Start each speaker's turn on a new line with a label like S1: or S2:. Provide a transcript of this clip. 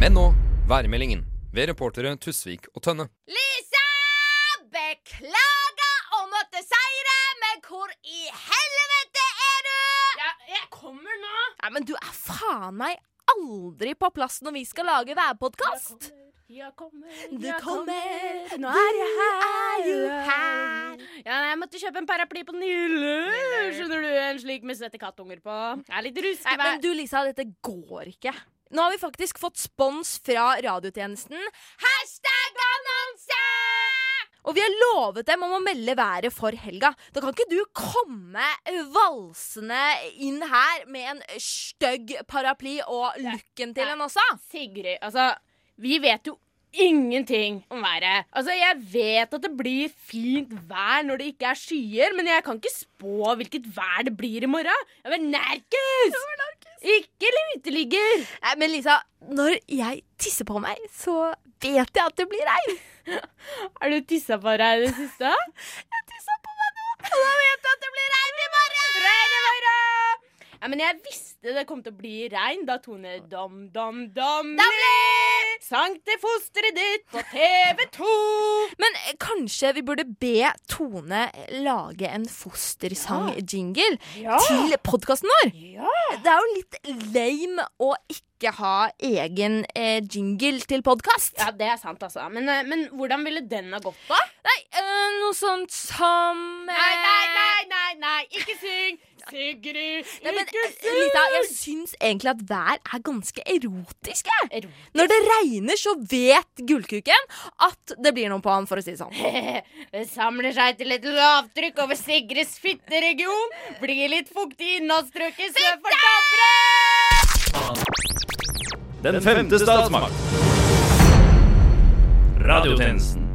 S1: Men nå værmeldingen ved reportere Tusvik og Tønne.
S2: Lisa! Beklager å måtte si det, men hvor i helvete er du?
S3: Jeg, jeg kommer nå.
S2: Nei, men du er faen meg aldri på plass når vi skal lage værpodkast.
S3: Jeg kommer,
S2: Du
S3: jeg
S2: kommer,
S3: Nå er jeg her.
S2: er jo her.
S3: Ja, nei, jeg måtte kjøpe en paraply på den hylle. Skjønner du, en slik med svette kattunger på. Jeg er litt
S2: Nei,
S3: ruskevær.
S2: men du Lisa, dette går ikke. Nå har vi faktisk fått spons fra radiotjenesten. Hashtag annonse! Og vi har lovet dem om å melde været for helga. Da kan ikke du komme valsende inn her med en stygg paraply og looken til en også.
S3: Sigrid, altså, vi vet jo ingenting om været. Altså, jeg vet at det blir fint vær når det ikke er skyer, men jeg kan ikke spå hvilket vær det blir i morgen. Jeg var nerkes! Ikke uteligger!
S2: Nei, men Lisa, når jeg tisser på meg, så vet jeg at det blir regn.
S3: Har du tissa på deg i det siste?
S2: Jeg tissa på meg nå, og da vet jeg at det blir regn i morgen! Regn i morgen!
S3: Ja, men jeg visste det kom til å bli regn da Tone Dam Dam Damli sang til fosteret ditt på TV 2.
S2: Men eh, kanskje vi burde be Tone lage en fostersang-jingle
S3: Ja.
S2: til podkasten vår?
S3: Ja.
S2: Det er jo litt lame å ikke ha egen eh, jingle til podkast.
S3: ja, det er sant, altså. Men, eh, men hvordan ville den ha gått, da?
S2: Nei, eh, noe sånt som eh,
S3: Nei, nei, nei, nei, nei, ikke syng! Sigrid,
S2: Nei, men,
S3: ikke
S2: eh,
S3: syng!
S2: Lita, jeg syns egentlig at vær er ganske erotisk. Jeg.
S3: Ro.
S2: Når det regner, så vet gullkuken at det blir noe på han, for å si det sånn.
S3: Det samler seg til et lavtrykk over Sigrids fitteregion. Blir litt fuktig i innholdsstrøket sør for Dovre.
S4: Den femte statsmakt. Radiotjenesten.